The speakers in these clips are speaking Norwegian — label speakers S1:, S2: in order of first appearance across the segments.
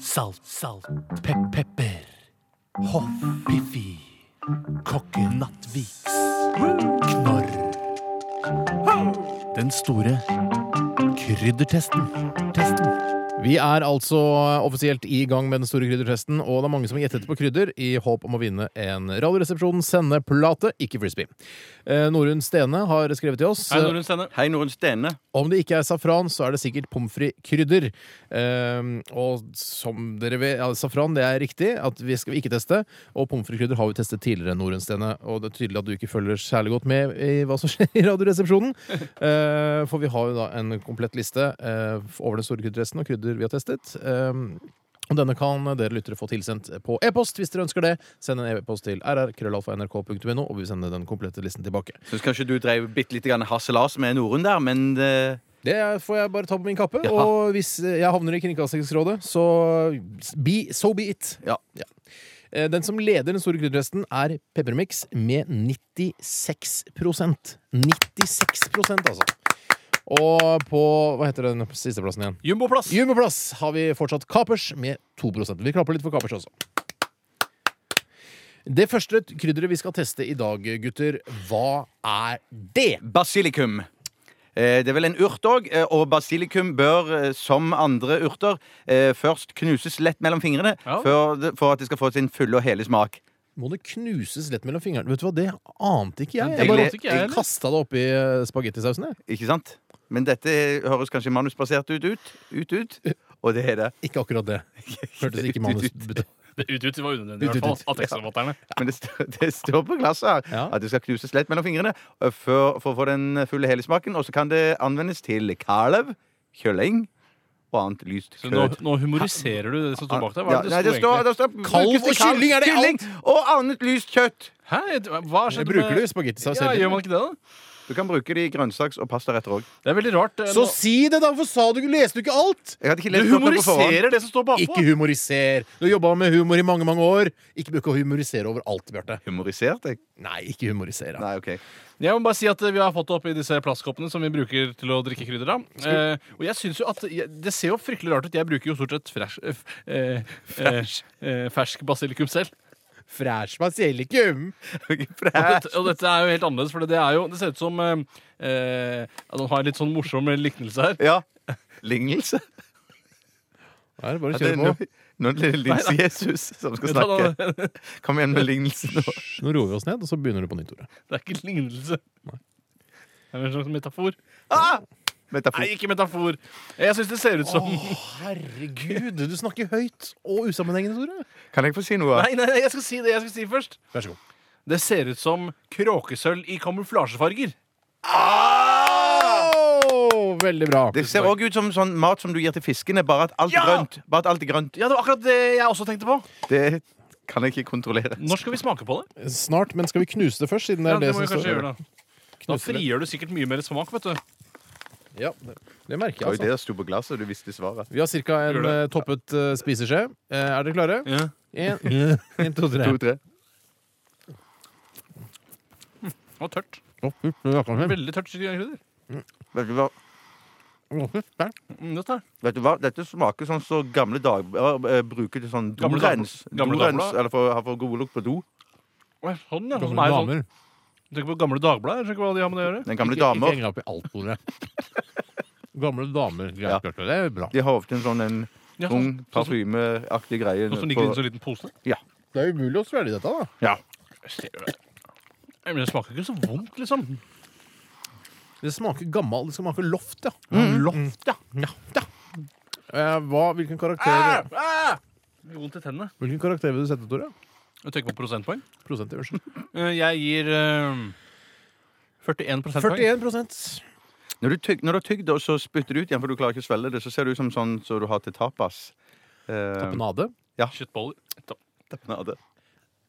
S1: Salt, salt, pep, pepper. Hoff, Piffi. Kokken Nattviks. Knorr. Den store kryddertesten. Testen.
S2: Vi er altså offisielt i gang med den store kryddertesten, og det er mange som har gjettet på krydder i håp om å vinne en Radioresepsjonen sendeplate, ikke frisbee. Eh, Norunn Stene har skrevet til oss.
S3: Hei, Norunn Stene.
S4: Hei, Norunn Stene.
S2: Om det ikke er safran, så er det sikkert pommes frites-krydder. Ehm, og som dere vet, ja, safran det er riktig, at vi skal vi ikke teste. Og pommes frites-krydder har vi testet tidligere, Norunn Stene. Og det er tydelig at du ikke følger særlig godt med i hva som skjer i Radioresepsjonen. Eh, for vi har jo da en komplett liste eh, over den store krydderresten og krydder vi har testet. Ehm, og denne kan dere lyttere få tilsendt på e-post hvis dere ønsker det. Send en e-post til rr.krøllalfa.nrk.no, og vi sender den komplette listen tilbake.
S4: Syns kanskje du drev bitte litt grann harselas med Norunn der, men eh,
S2: Det får jeg bare ta på min kappe.
S4: Ja.
S2: Og hvis eh, jeg havner i Kringkastingsrådet, så be, so be it.
S4: Ja.
S2: Eh, Den som leder den store krydderresten, er Peppermix med 96 96 altså. Og på hva heter den siste plassen igjen?
S3: Jumboplass.
S2: Jumboplass har vi fortsatt Kapers med 2 Vi klapper litt for Kapers også. Det første krydderet vi skal teste i dag, gutter, hva er det?
S4: basilikum. Eh, Det er vel en urt òg, og basilikum bør, eh, som andre urter, eh, først knuses lett mellom fingrene
S3: Ja.
S4: før det- for at det skal få sin fulle og hele smak.
S2: må det knuses lett mellom fingrene. Vet du hva, det ante ikke jeg.
S3: Ja, det
S2: Jeg bare
S3: ante ikke jeg heller.
S2: kasta det oppi eh, spagettisausen. jeg.
S4: Ikke sant? Men dette høres kanskje manusbasert ut, ut, ut, ut. Og det er det.
S2: Ikke akkurat det. Hørtes ikke manus ut.
S3: Det ut, ut, det var unødvendig. i
S2: Ut, ut,
S3: hvert fall,
S2: ut.
S3: av tekstforfatterne.
S4: Men det, står- det står på glasset her
S2: Ja.
S4: at det skal knuses lett mellom fingrene eh, for, for å få den fulle hele smaken. Og så kan det anvendes til kalv, kjølling og annet lyst
S3: Så nå,
S4: kjøtt.
S3: nå humoriserer du det som står bak deg. Hva
S4: Ja,
S3: er det
S4: nei,
S3: det
S4: det
S3: sto
S4: står,
S3: egentlig?
S4: det står
S2: Kalv
S4: brukes til
S2: og kylling, er det
S4: Og annet lyst kjøtt.
S3: Hæ? Hva
S2: Det
S3: skjedde
S2: bruker du i
S3: med
S2: spagettisaus
S3: ja,
S2: hele
S3: Gjør
S2: tiden.
S3: man ikke det, da?
S4: Du kan bruke det i grønnsaks- og pastaretter òg.
S3: Det er veldig rart. eh,
S2: Så
S3: nå-
S2: si det, da! Hvorfor sa du ikke Leste du ikke alt?
S4: Jeg hadde ikke
S3: du
S4: lest godt nok på forhånd.
S3: humoriserer det som står bakpå.
S2: Ikke humoriser. Du har jobba med humor i mange mange år. Ikke bruk å humorisere over alt, Bjarte.
S4: Humorisert, jeg?
S2: Nei, ikke humorisere.
S4: Nei, OK.
S3: Jeg må bare si at eh, Vi har fått det oppi disse plastkoppene som vi bruker til å drikke krydder av. Eh, og jeg synes jo at jeg, Det ser jo fryktelig rart ut. Jeg bruker jo stort sett fresh, eh, f- eh, eh, eh, fersk basilikum selv.
S2: Fræsj basilikum!
S4: For det
S3: Og,
S4: er-
S3: dette- og dette er jo helt annerledes, for det, er jo, det ser ut som eh, eh, at Han har en litt sånn morsom liknelse her.
S4: Ja. Lignelse.
S2: Nei, det er bare
S4: Ja,
S2: å
S4: det er
S2: kjøre på.
S4: noe- Nå er det linse Jesus som skal
S3: Ta da-
S4: snakke. Kom igjen med lignelsen. nå.
S2: Nå roer vi oss ned, og så begynner du på nytt. Tore.
S3: Det er ikke lignelse. Det er en slags metafor.
S4: Ah! Metafor.
S3: Nei, ikke metafor. Jeg syns det ser ut som
S2: herregud! Du snakker høyt og usammenhengende, Tore.
S4: Kan jeg få si noe?
S3: Nei, nei, nei, jeg skal si det jeg skal si først.
S2: Vær så god.
S3: Det ser ut som kråkesølv i kamuflasjefarger.
S2: Åh, veldig bra.
S4: Det ser òg ut som sånn mat som du gir til fiskene, bare at alt er
S3: Ja!
S4: grønt. Bare at alt er grønt.
S3: Ja, det var akkurat det jeg også tenkte på.
S4: Det kan jeg ikke kontrollere.
S3: Når skal vi smake på det?
S2: Snart, men skal vi knuse det først? Siden det
S3: Ja,
S2: er
S3: det
S2: det,
S3: må vi
S2: som
S3: kanskje
S2: står
S3: gjøre Da Da frigjør du sikkert mye mer smak, vet du.
S2: Ja, det, det merker
S4: Det var
S2: jeg,
S4: jo
S2: altså.
S4: det der sto på glasset, og du visste svaret.
S2: Vi har ca. en
S3: Gjør det.
S2: eh, toppet eh, spiseskje. Eh, er dere klare? En, en, to, tre.
S4: To, tre.
S3: Det var tørt.
S2: Å, fy, det er akkurat som-
S3: Veldig tørt krydder.
S4: Vet du hva?
S2: Å, fy, der.
S3: Mm, dette her.
S4: Vet du hva? Dette smaker sånn som gamle dagblader eh, bruker til sånn
S3: Gamle
S4: dorens.
S3: dag- gamle
S4: dorens
S3: dagblad?
S4: eller for, har for god lukt på do.
S3: Oi, Sånn, ja. Som
S2: Gamle
S3: er sånn.
S2: damer.
S3: Tenk på Gamle Dagbladet. Jeg skjønner ikke hva de har med det å gjøre.
S4: Den gamle
S2: Ikke- Ikke
S4: damer.
S2: heng deg opp i alt, Tore. Gamle damer. Greit,
S4: Ja.
S2: Bjarte, Det er bra.
S4: De har ofte en sånn en
S3: Ja,
S4: tung,
S3: sånn, sånn,
S4: parfymeaktig greie.
S3: sånn som ligger i
S4: på-
S3: en sånn liten pose.
S2: Det er umulig å svelge dette, da.
S4: ja.
S3: Jeg ser jo det. Nei, Men det smaker ikke så vondt, liksom.
S2: Det smaker gammel. Det smaker loft, ja.
S3: Mm.
S2: Mm.
S3: Loft, ja.
S2: ja, ja. Eh, hva, hvilken,
S3: Ah,
S2: karakter,
S3: ah! Det gjør Vondt i tennene.
S2: hvilken karakter vil du sette, Tore?
S3: Jeg tenker på prosentpoeng.
S2: Prosent, i unnskyld.
S3: Eh, Jeg gir eh, 41 prosentpoeng.
S2: 41
S4: Når du, tyg, når du har tygd det, og så spytter du ut igjen, for du klarer ikke å svelge det, så ser det ut som sånn som du har til tapas. Eh,
S2: Tapenade.
S3: Kjøttboller. Topp.
S4: tapenade.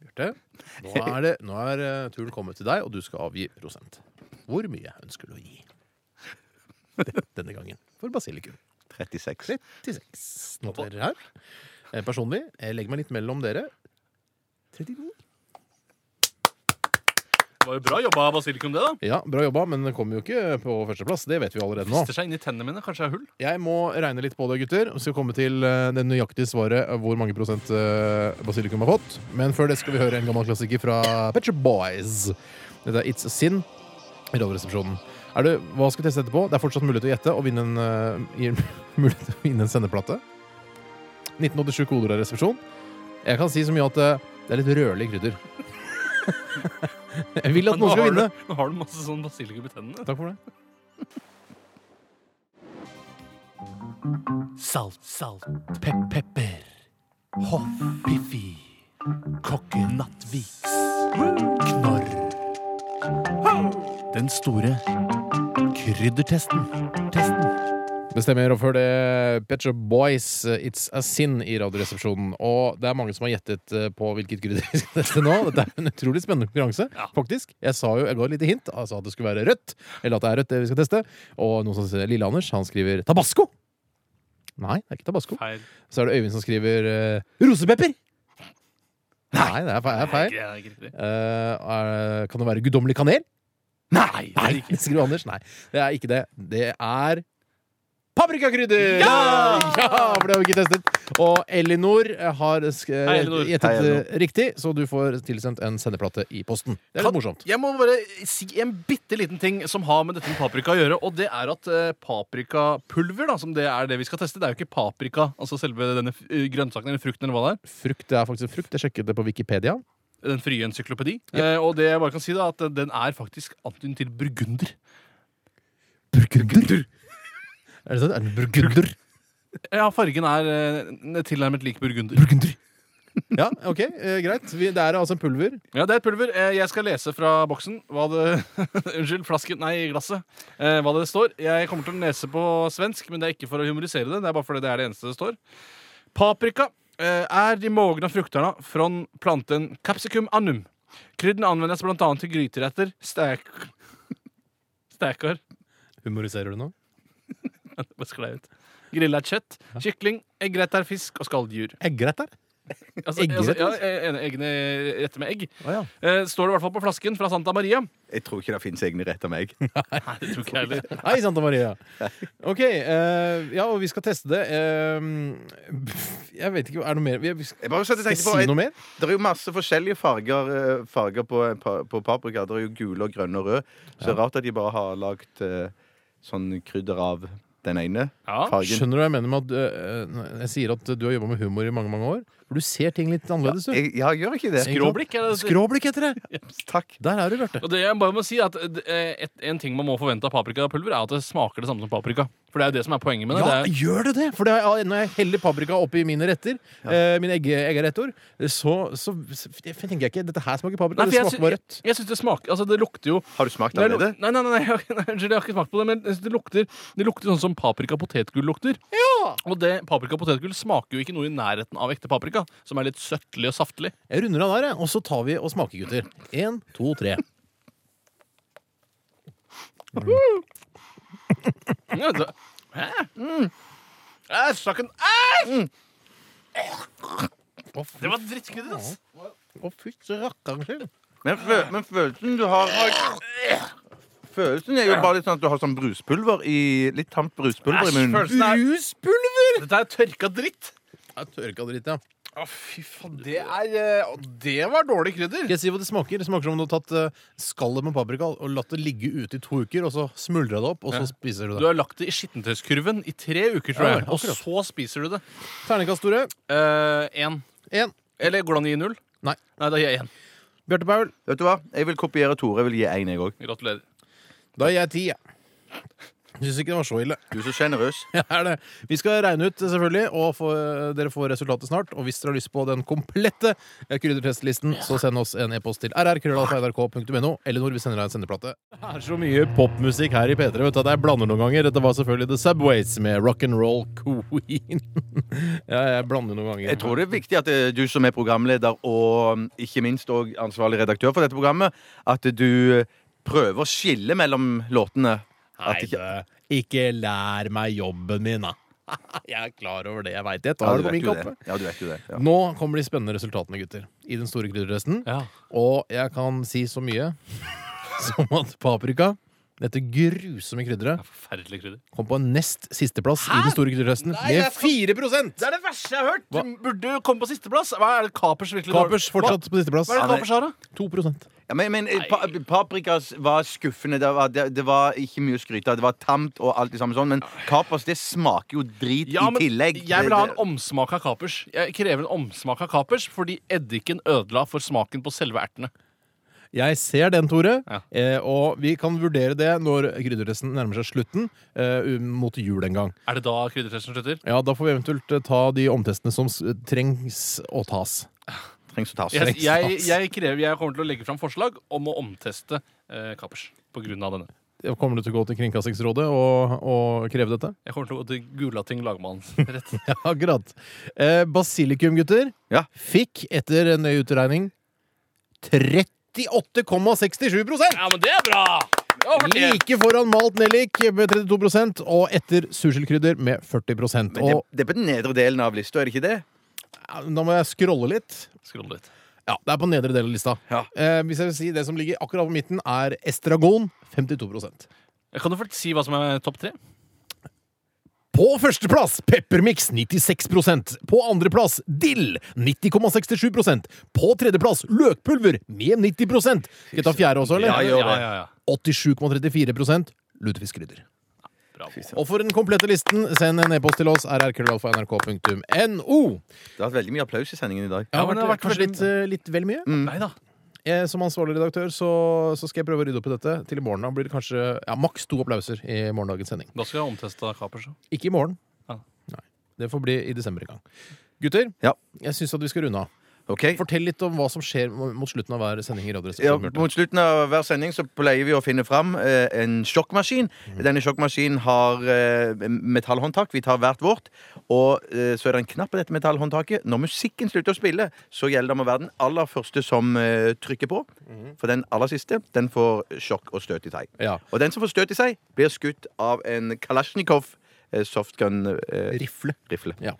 S2: Bjarte, nå er, det, nå er eh, turen kommet til deg, og du skal avgi prosent. Hvor mye ønsker du å gi? Den- Denne gangen for basilikum.
S4: 36.
S2: 36 noterer her. Eh, Personlig, jeg legger meg litt mellom dere. 39.
S3: Det var jo bra jobba av basilikum, det, da.
S2: Ja, Bra jobba, men den kommer jo ikke på førsteplass. Det vet vi allerede nå.
S3: Fester seg inn i tennene mine. Kanskje jeg har hull?
S2: Jeg må regne litt på det, gutter. Vi skal komme til eh, det nøyaktige svaret av hvor mange prosent eh, basilikum har fått. Men før det skal vi høre en gammel klassiker fra Petcher Boys. Dette er It's a Sin i Radioresepsjonen. Er det, hva skal vi teste etterpå? Det er fortsatt mulighet til å gjette og vinne en, eh, gir mulighet til å vinne en sendeplate. 1987 koder av resepsjon. Jeg kan si så mye at eh, det er litt rødlig krydder. Jeg vil at
S3: nå
S2: noen skal
S3: har,
S2: vinne.
S3: du, nå har du masse sånn basilikum i tennene.
S2: Takk for det.
S1: Salt, salt, pep, pepper. Hoff, Piffi. Kokke Nattviks. Knorr. Den store kryddertesten. Testen.
S2: Det stemmer. Og før det Pet Shop Boys, eh, It's a Sin i Radioresepsjonen. Og det er mange som har gjettet eh, på hvilket krydder vi skal teste nå. Dette er en utrolig spennende konkurranse, faktisk. Jeg sa jo, jeg ga et lite hint, altså at det skulle være rødt. Eller at det er rødt, det vi skal teste. Og noen som sier Lille-Anders, han skriver tabasco. Nei, det er ikke tabasco.
S3: Feil.
S2: Så er det Øyvind som skriver eh, rosepepper. Nei, det er feil. Det er feil.
S3: Nei, det er ikke riktig.
S2: Eh, er, kan det være guddommelig kanel?
S3: Nei, det er
S2: Nei,
S3: ikke.
S2: skriver Anders. Nei, det er ikke det. Det er paprikakrydder! Ja! For det har vi ikke testet. Og Elinor har sk-
S3: Hei, Elinor.
S2: gjettet
S4: Hei, Elinor.
S2: eh, riktig, så du får tilsendt en sendeplate i posten. Det er
S3: Kan-
S2: litt morsomt.
S3: Jeg må bare si en bitte liten ting som har med dette med paprika å gjøre. Og det er at eh, paprikapulver, da, som det er det vi skal teste, det er jo ikke paprika. Altså selve denne f- eh, grønnsaken eller frukten eller hva det er.
S2: Frukt det er faktisk en frukt. Jeg sjekket det på Wikipedia.
S3: Den frie encyklopedi. Eh, og det jeg bare kan si, da, at den er faktisk antydning til burgunder.
S2: Burgunder! Er det sant? Er det burgunder?
S3: Ja, fargen er eh, tilnærmet lik burgunder.
S2: Ja, OK, eh, greit. Vi, det er altså en pulver.
S3: Ja, det er et pulver. Eh, Jeg skal lese fra boksen hva det Unnskyld, flasken. Nei, glasset. Eh, Hva det står. Jeg kommer til å lese på svensk, men det er ikke for å humorisere det. Det er bare fordi det er det eneste det står. Paprika eh, er de mogna frukterna fra planten capsicum annum. Kryddene anvendes bl.a. til gryteretter, stek... Stekar
S2: Humoriserer du nå?
S3: Hva sklei ut. Grilla kjøtt, kykling, eggretter, fisk og skalldyr.
S2: Eggerett der?
S3: Altså, altså, ja, eh, egne retter med egg.
S2: Å ja.
S3: Eh, står det i hvert fall på flasken fra Santa Maria.
S4: Jeg tror ikke det fins egne rett av meg.
S3: Nei, det tror ikke jeg heller.
S2: Hei, Santa Maria. OK. eh, ja, og vi skal teste det. Eh, jeg vet ikke Er det noe mer? Vi, vi skal,
S4: Jeg bare satt og
S2: skal jeg
S4: tenkte på
S2: si
S4: jeg-
S2: noe mer?
S4: Det er jo masse forskjellige farger, eh, farger på, pa- på paprika. Det er jo gule og grønne og røde. Så det er rart at de bare har lagd eh, sånn krydder av den ene
S3: Ja.
S2: Ah,
S4: fargen.
S2: Skjønner du hva jeg mener med at øh, øh, Jeg sier at du har jobba med humor i mange mange år? For du ser ting litt annerledes ut.
S4: Jeg, ja, jeg gjør ikke det.
S3: Skråblikk er det.
S2: Skråblikk heter det!
S4: Takk.
S2: Der er du, Bjarte.
S3: Og det jeg bare må si er at eh, et, En ting man må forvente av paprikapulver, er at det smaker det samme som paprika. For det er jo det som er poenget med det.
S2: Ja,
S3: det er,
S2: gjør du det? For det er, når jeg heller paprika oppi mine retter, eh, mine egge, eggeretter, så, så, så jeg tenker jeg ikke dette her smaker paprika.
S3: Nei, for
S2: det
S3: jeg
S2: smaker bare rødt.
S3: sy- jeg syns det smaker Altså, det lukter jo
S4: Har du smakt
S3: Nei,
S4: av
S3: nei,
S4: det?
S3: nei, nei, nei, jeg, nei, unnskyld, jeg har ikke smakt på det, men jeg synes det lukter Det lukter sånn som paprika-potetgull lukter. Og det paprika-potetgull smaker jo ikke noe i nærheten av ekte paprika, som er litt søtlig og saftlig.
S2: Jeg runder av der, jeg, og så tar vi og smaker, gutter. Én, to, tre.
S3: Ja, det, Hæ? Mm. Æsj, saken Æsj! Det var drittkrydder, ass.
S2: Å, fytti rakkeren sin.
S4: Men, fø, men følelsen du har Følelsen er jo bare litt sånn at du har sånn bruspulver i Litt tamt bruspulver i
S3: Æsj,
S4: munnen.
S3: følelsen er
S2: Bruspulver!
S3: Dette er tørka dritt.
S2: Jeg tørka dritt, ja.
S3: Å, fy faen. Det er eh, å, Det var dårlig krydder.
S2: Skal jeg si hva det smaker? Det smaker som om du har tatt eh, skallet med paprika og latt det ligge ute i to uker, og så smuldrer det opp, og så spiser du
S3: Du
S2: det.
S3: har lagt det i skittentøyskurven i tre uker, tror
S2: Ja,
S3: jeg. Og
S2: akkurat.
S3: så spiser du det.
S2: Terningkast, Tore.
S3: Én.
S2: Én.
S3: Eller går det an å gi null?
S2: Nei.
S3: Nei, da gir jeg én.
S2: Bjarte Paul.
S4: Vet du hva? Jeg vil kopiere Tore. Jeg vil gi én, jeg òg.
S3: Gratulerer.
S2: Da er jeg ti, jeg. Syns ikke det var så ille.
S4: Du er så sjenerøs.
S2: Ja, er det. Vi skal regne ut, selvfølgelig, og få, dere får resultatet snart. Og hvis dere har lyst på den komplette kryddertestlisten, så send oss en e-post til rrkrøllalfa.nrk.no. Elinor, vi sender deg en sendeplate. Det er så mye popmusikk her i P3 vet du, at jeg blander noen ganger. Dette var selvfølgelig The Subways med Rock'n'Roll Queen. ja, jeg blander noen ganger.
S4: Jeg tror det er viktig at eh, du som er programleder, og mm, ikke minst òg ansvarlig redaktør for dette programmet, at du eh, prøver å skille mellom låtene. At
S2: Nei,
S4: ikke,
S2: det- ikke lær meg jobben min, da. Jeg er klar over det. Jeg veit det. Jeg
S4: Ja,
S2: tar
S4: du
S2: det på
S4: vet
S2: min Mm.
S4: jo det.
S2: kappe.
S4: Ja, du vet jo det. Ja.
S2: Nå kommer de spennende resultatene, gutter. I den store krydderresten.
S3: Ja.
S2: Og jeg kan si så mye som at paprika, dette grusomme krydderet,
S3: Forferdelig krydder.
S2: kom på en nest sisteplass i den store krydderresten med 4
S3: Det er det verste jeg har hørt! Burde jo komme på sisteplass. Hva er det Kapers virkelig
S2: Kapers fortsatt på sisteplass.
S3: Hva er det
S4: Ja,
S3: Kapers har, da?
S2: 2
S4: Ja, men men eh, pa paprikas var skuffende. Det var, det, det var ikke mye å skryte av. Det var tamt og alt det samme sånn, men kapers det smaker jo drit
S3: Ja, men
S4: i tillegg.
S3: jeg vil ha en
S4: Det- det-
S3: omsmak av kapers. Jeg krever en omsmak av kapers fordi eddiken ødela for smaken på selve ertene.
S2: Jeg ser den, Tore.
S3: Ja.
S2: Eh, og vi kan vurdere det når krydderresten nærmer seg slutten, eh, mot jul en gang.
S3: Er det da kryddertesten slutter?
S2: Ja, Da får vi eventuelt eh, ta de omtestene som s- trengs å tas.
S4: Trengs å tas.
S3: Jeg,
S2: Strengt
S3: jeg,
S2: tatt.
S3: jeg, krever, jeg kommer til å legge fram forslag om å omteste eh, kapers på grunn av denne.
S2: Kommer du til å gå til Kringkastingsrådet og, og kreve dette?
S3: Jeg kommer til å gå til Gulating lagmannsrett.
S2: Ja, akkurat. Eh, basilikum, gutter,
S4: Ja.
S2: fikk etter en nøye utregning 38,67
S3: Ja, men det er bra! Det var fortjent.
S2: Like foran malt nellik med 32 og etter surselkrydder med 40
S4: Men det,
S2: Og
S4: det er på den nedre delen av lista, er det ikke det?
S2: ja, Da må jeg scrolle litt.
S3: Skroll litt.
S2: Ja, Det er på nedre del av lista.
S4: Ja.
S2: Eh, hvis jeg vil si Det som ligger akkurat på midten, er estragon 52
S3: Kan du fort si hva som er topp tre?
S2: På førsteplass Peppermix 96 På andreplass dill 90,67 På tredjeplass løkpulver med 90 Skal jeg ta fjerde også,
S4: Ja,
S2: eller?
S4: gjør
S3: ja,
S4: det.
S3: ja, ja.
S2: 87,34 lutefiskkrydder.
S3: Bra.
S2: Og for den komplette listen, send en e-post til oss rrkrøllalfa.nrk.no.
S4: Det har vært veldig mye applaus i sendingen i dag.
S2: Ja,
S3: men
S2: men det har vært kanskje litt, eh, litt vel mye.
S3: Nei da.
S2: Eh, Som ansvarlig redaktør så, så skal jeg prøve å rydde opp i dette til i morgen. Da blir det kanskje ja, maks to applauser i morgendagens sending.
S3: Da skal jeg omteste kapers. da.
S2: Ikke i morgen.
S3: Ja.
S2: Nei. Det får bli i desember en gang. Gutter,
S4: Ja.
S2: jeg syns at vi skal runde av.
S4: Ok?
S2: Fortell litt om hva som skjer mot slutten av hver sending i
S4: Ja,
S2: Radioresepsjonen. Bjarte.
S4: mot slutten av hver sending så pleier vi å finne fram eh, en sjokkmaskin. Denne sjokkmaskinen har eh, metallhåndtak. Vi tar hvert vårt. Og eh, så er det en knapp på dette metallhåndtaket. Når musikken slutter å spille, så gjelder det om å være den aller første som eh, trykker på. For den aller siste, den får sjokk og støt i seg.
S2: Ja.
S4: Og den som får støt i seg, blir skutt av en Kalasjnikov eh, softgun-rifle.
S2: Rifle. Ja.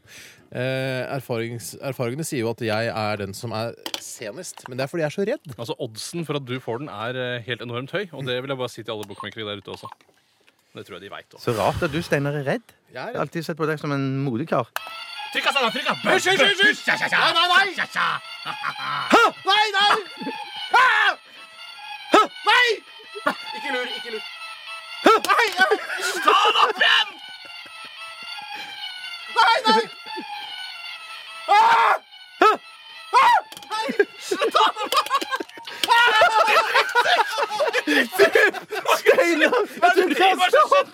S2: Eh, erfarings, erfaringene sier jo at jeg er den som er senest, men det er fordi jeg er så redd.
S3: Altså Oddsen for at du får den, er eh, helt enormt høy. Og det vil jeg bare si til alle bokmekere der ute også. Det tror jeg de veit også.
S4: Så rart at du, Steinar, er redd.
S2: Jeg er
S4: Jeg har
S2: redd.
S4: alltid sett på deg som en modig kar.
S3: Trykk av Steinar! Trykk av! Hysj, hysj, hysj, hysj! Ja, ja, ja. Nei, nei, nei! Ja, ja. Nei, nei! Ah! Hæ? Nei! Ikke lur, ikke lur. Hæ? Nei, ja. Ta den opp igjen! Nei, nei! Ah! Hæ? Ah! Nei, slutt å ta den opp!
S4: Steinar!
S3: Hva er det som skjedde med deg?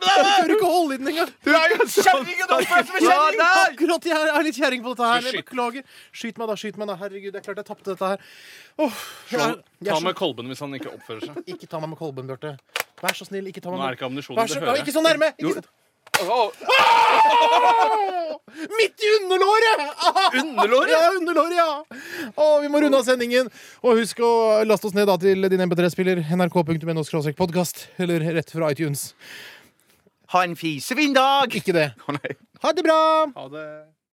S2: Jeg tør ikke å holde i den engang!
S4: Du er jo
S3: Kjerringen oppfører seg som en
S4: Ja,
S3: kjerring!
S4: der!
S2: Akkurat jeg er litt kjerring på dette her.
S3: Skyt.
S2: Jeg beklager. Skyt meg, da. Skyt meg, da. Herregud, det er klart jeg tapte dette her. Åh, jeg
S3: Ta
S2: er- jeg er så-
S3: med kolben hvis han ikke oppfører seg.
S2: Ikke ta meg med kolben, Bjarte. Vær så snill, ikke ta meg
S3: Nå er det
S2: med
S3: ikke ammunisjon.
S2: Vær
S3: Det
S2: så,
S3: hører
S2: ikke
S3: jeg.
S2: så nærme! Ikke så... Ah! Midt i underlåret! Underlåret? Ja, underlåret, ja. Og vi må runde av sendingen. Og husk å laste oss ned da til din MP3-spiller nrk.no-podkast, eller rett fra iTunes.
S4: Ha en fisefin dag!
S2: Ikke det.
S4: Å, nei.
S2: Ha det bra!
S3: Ha det.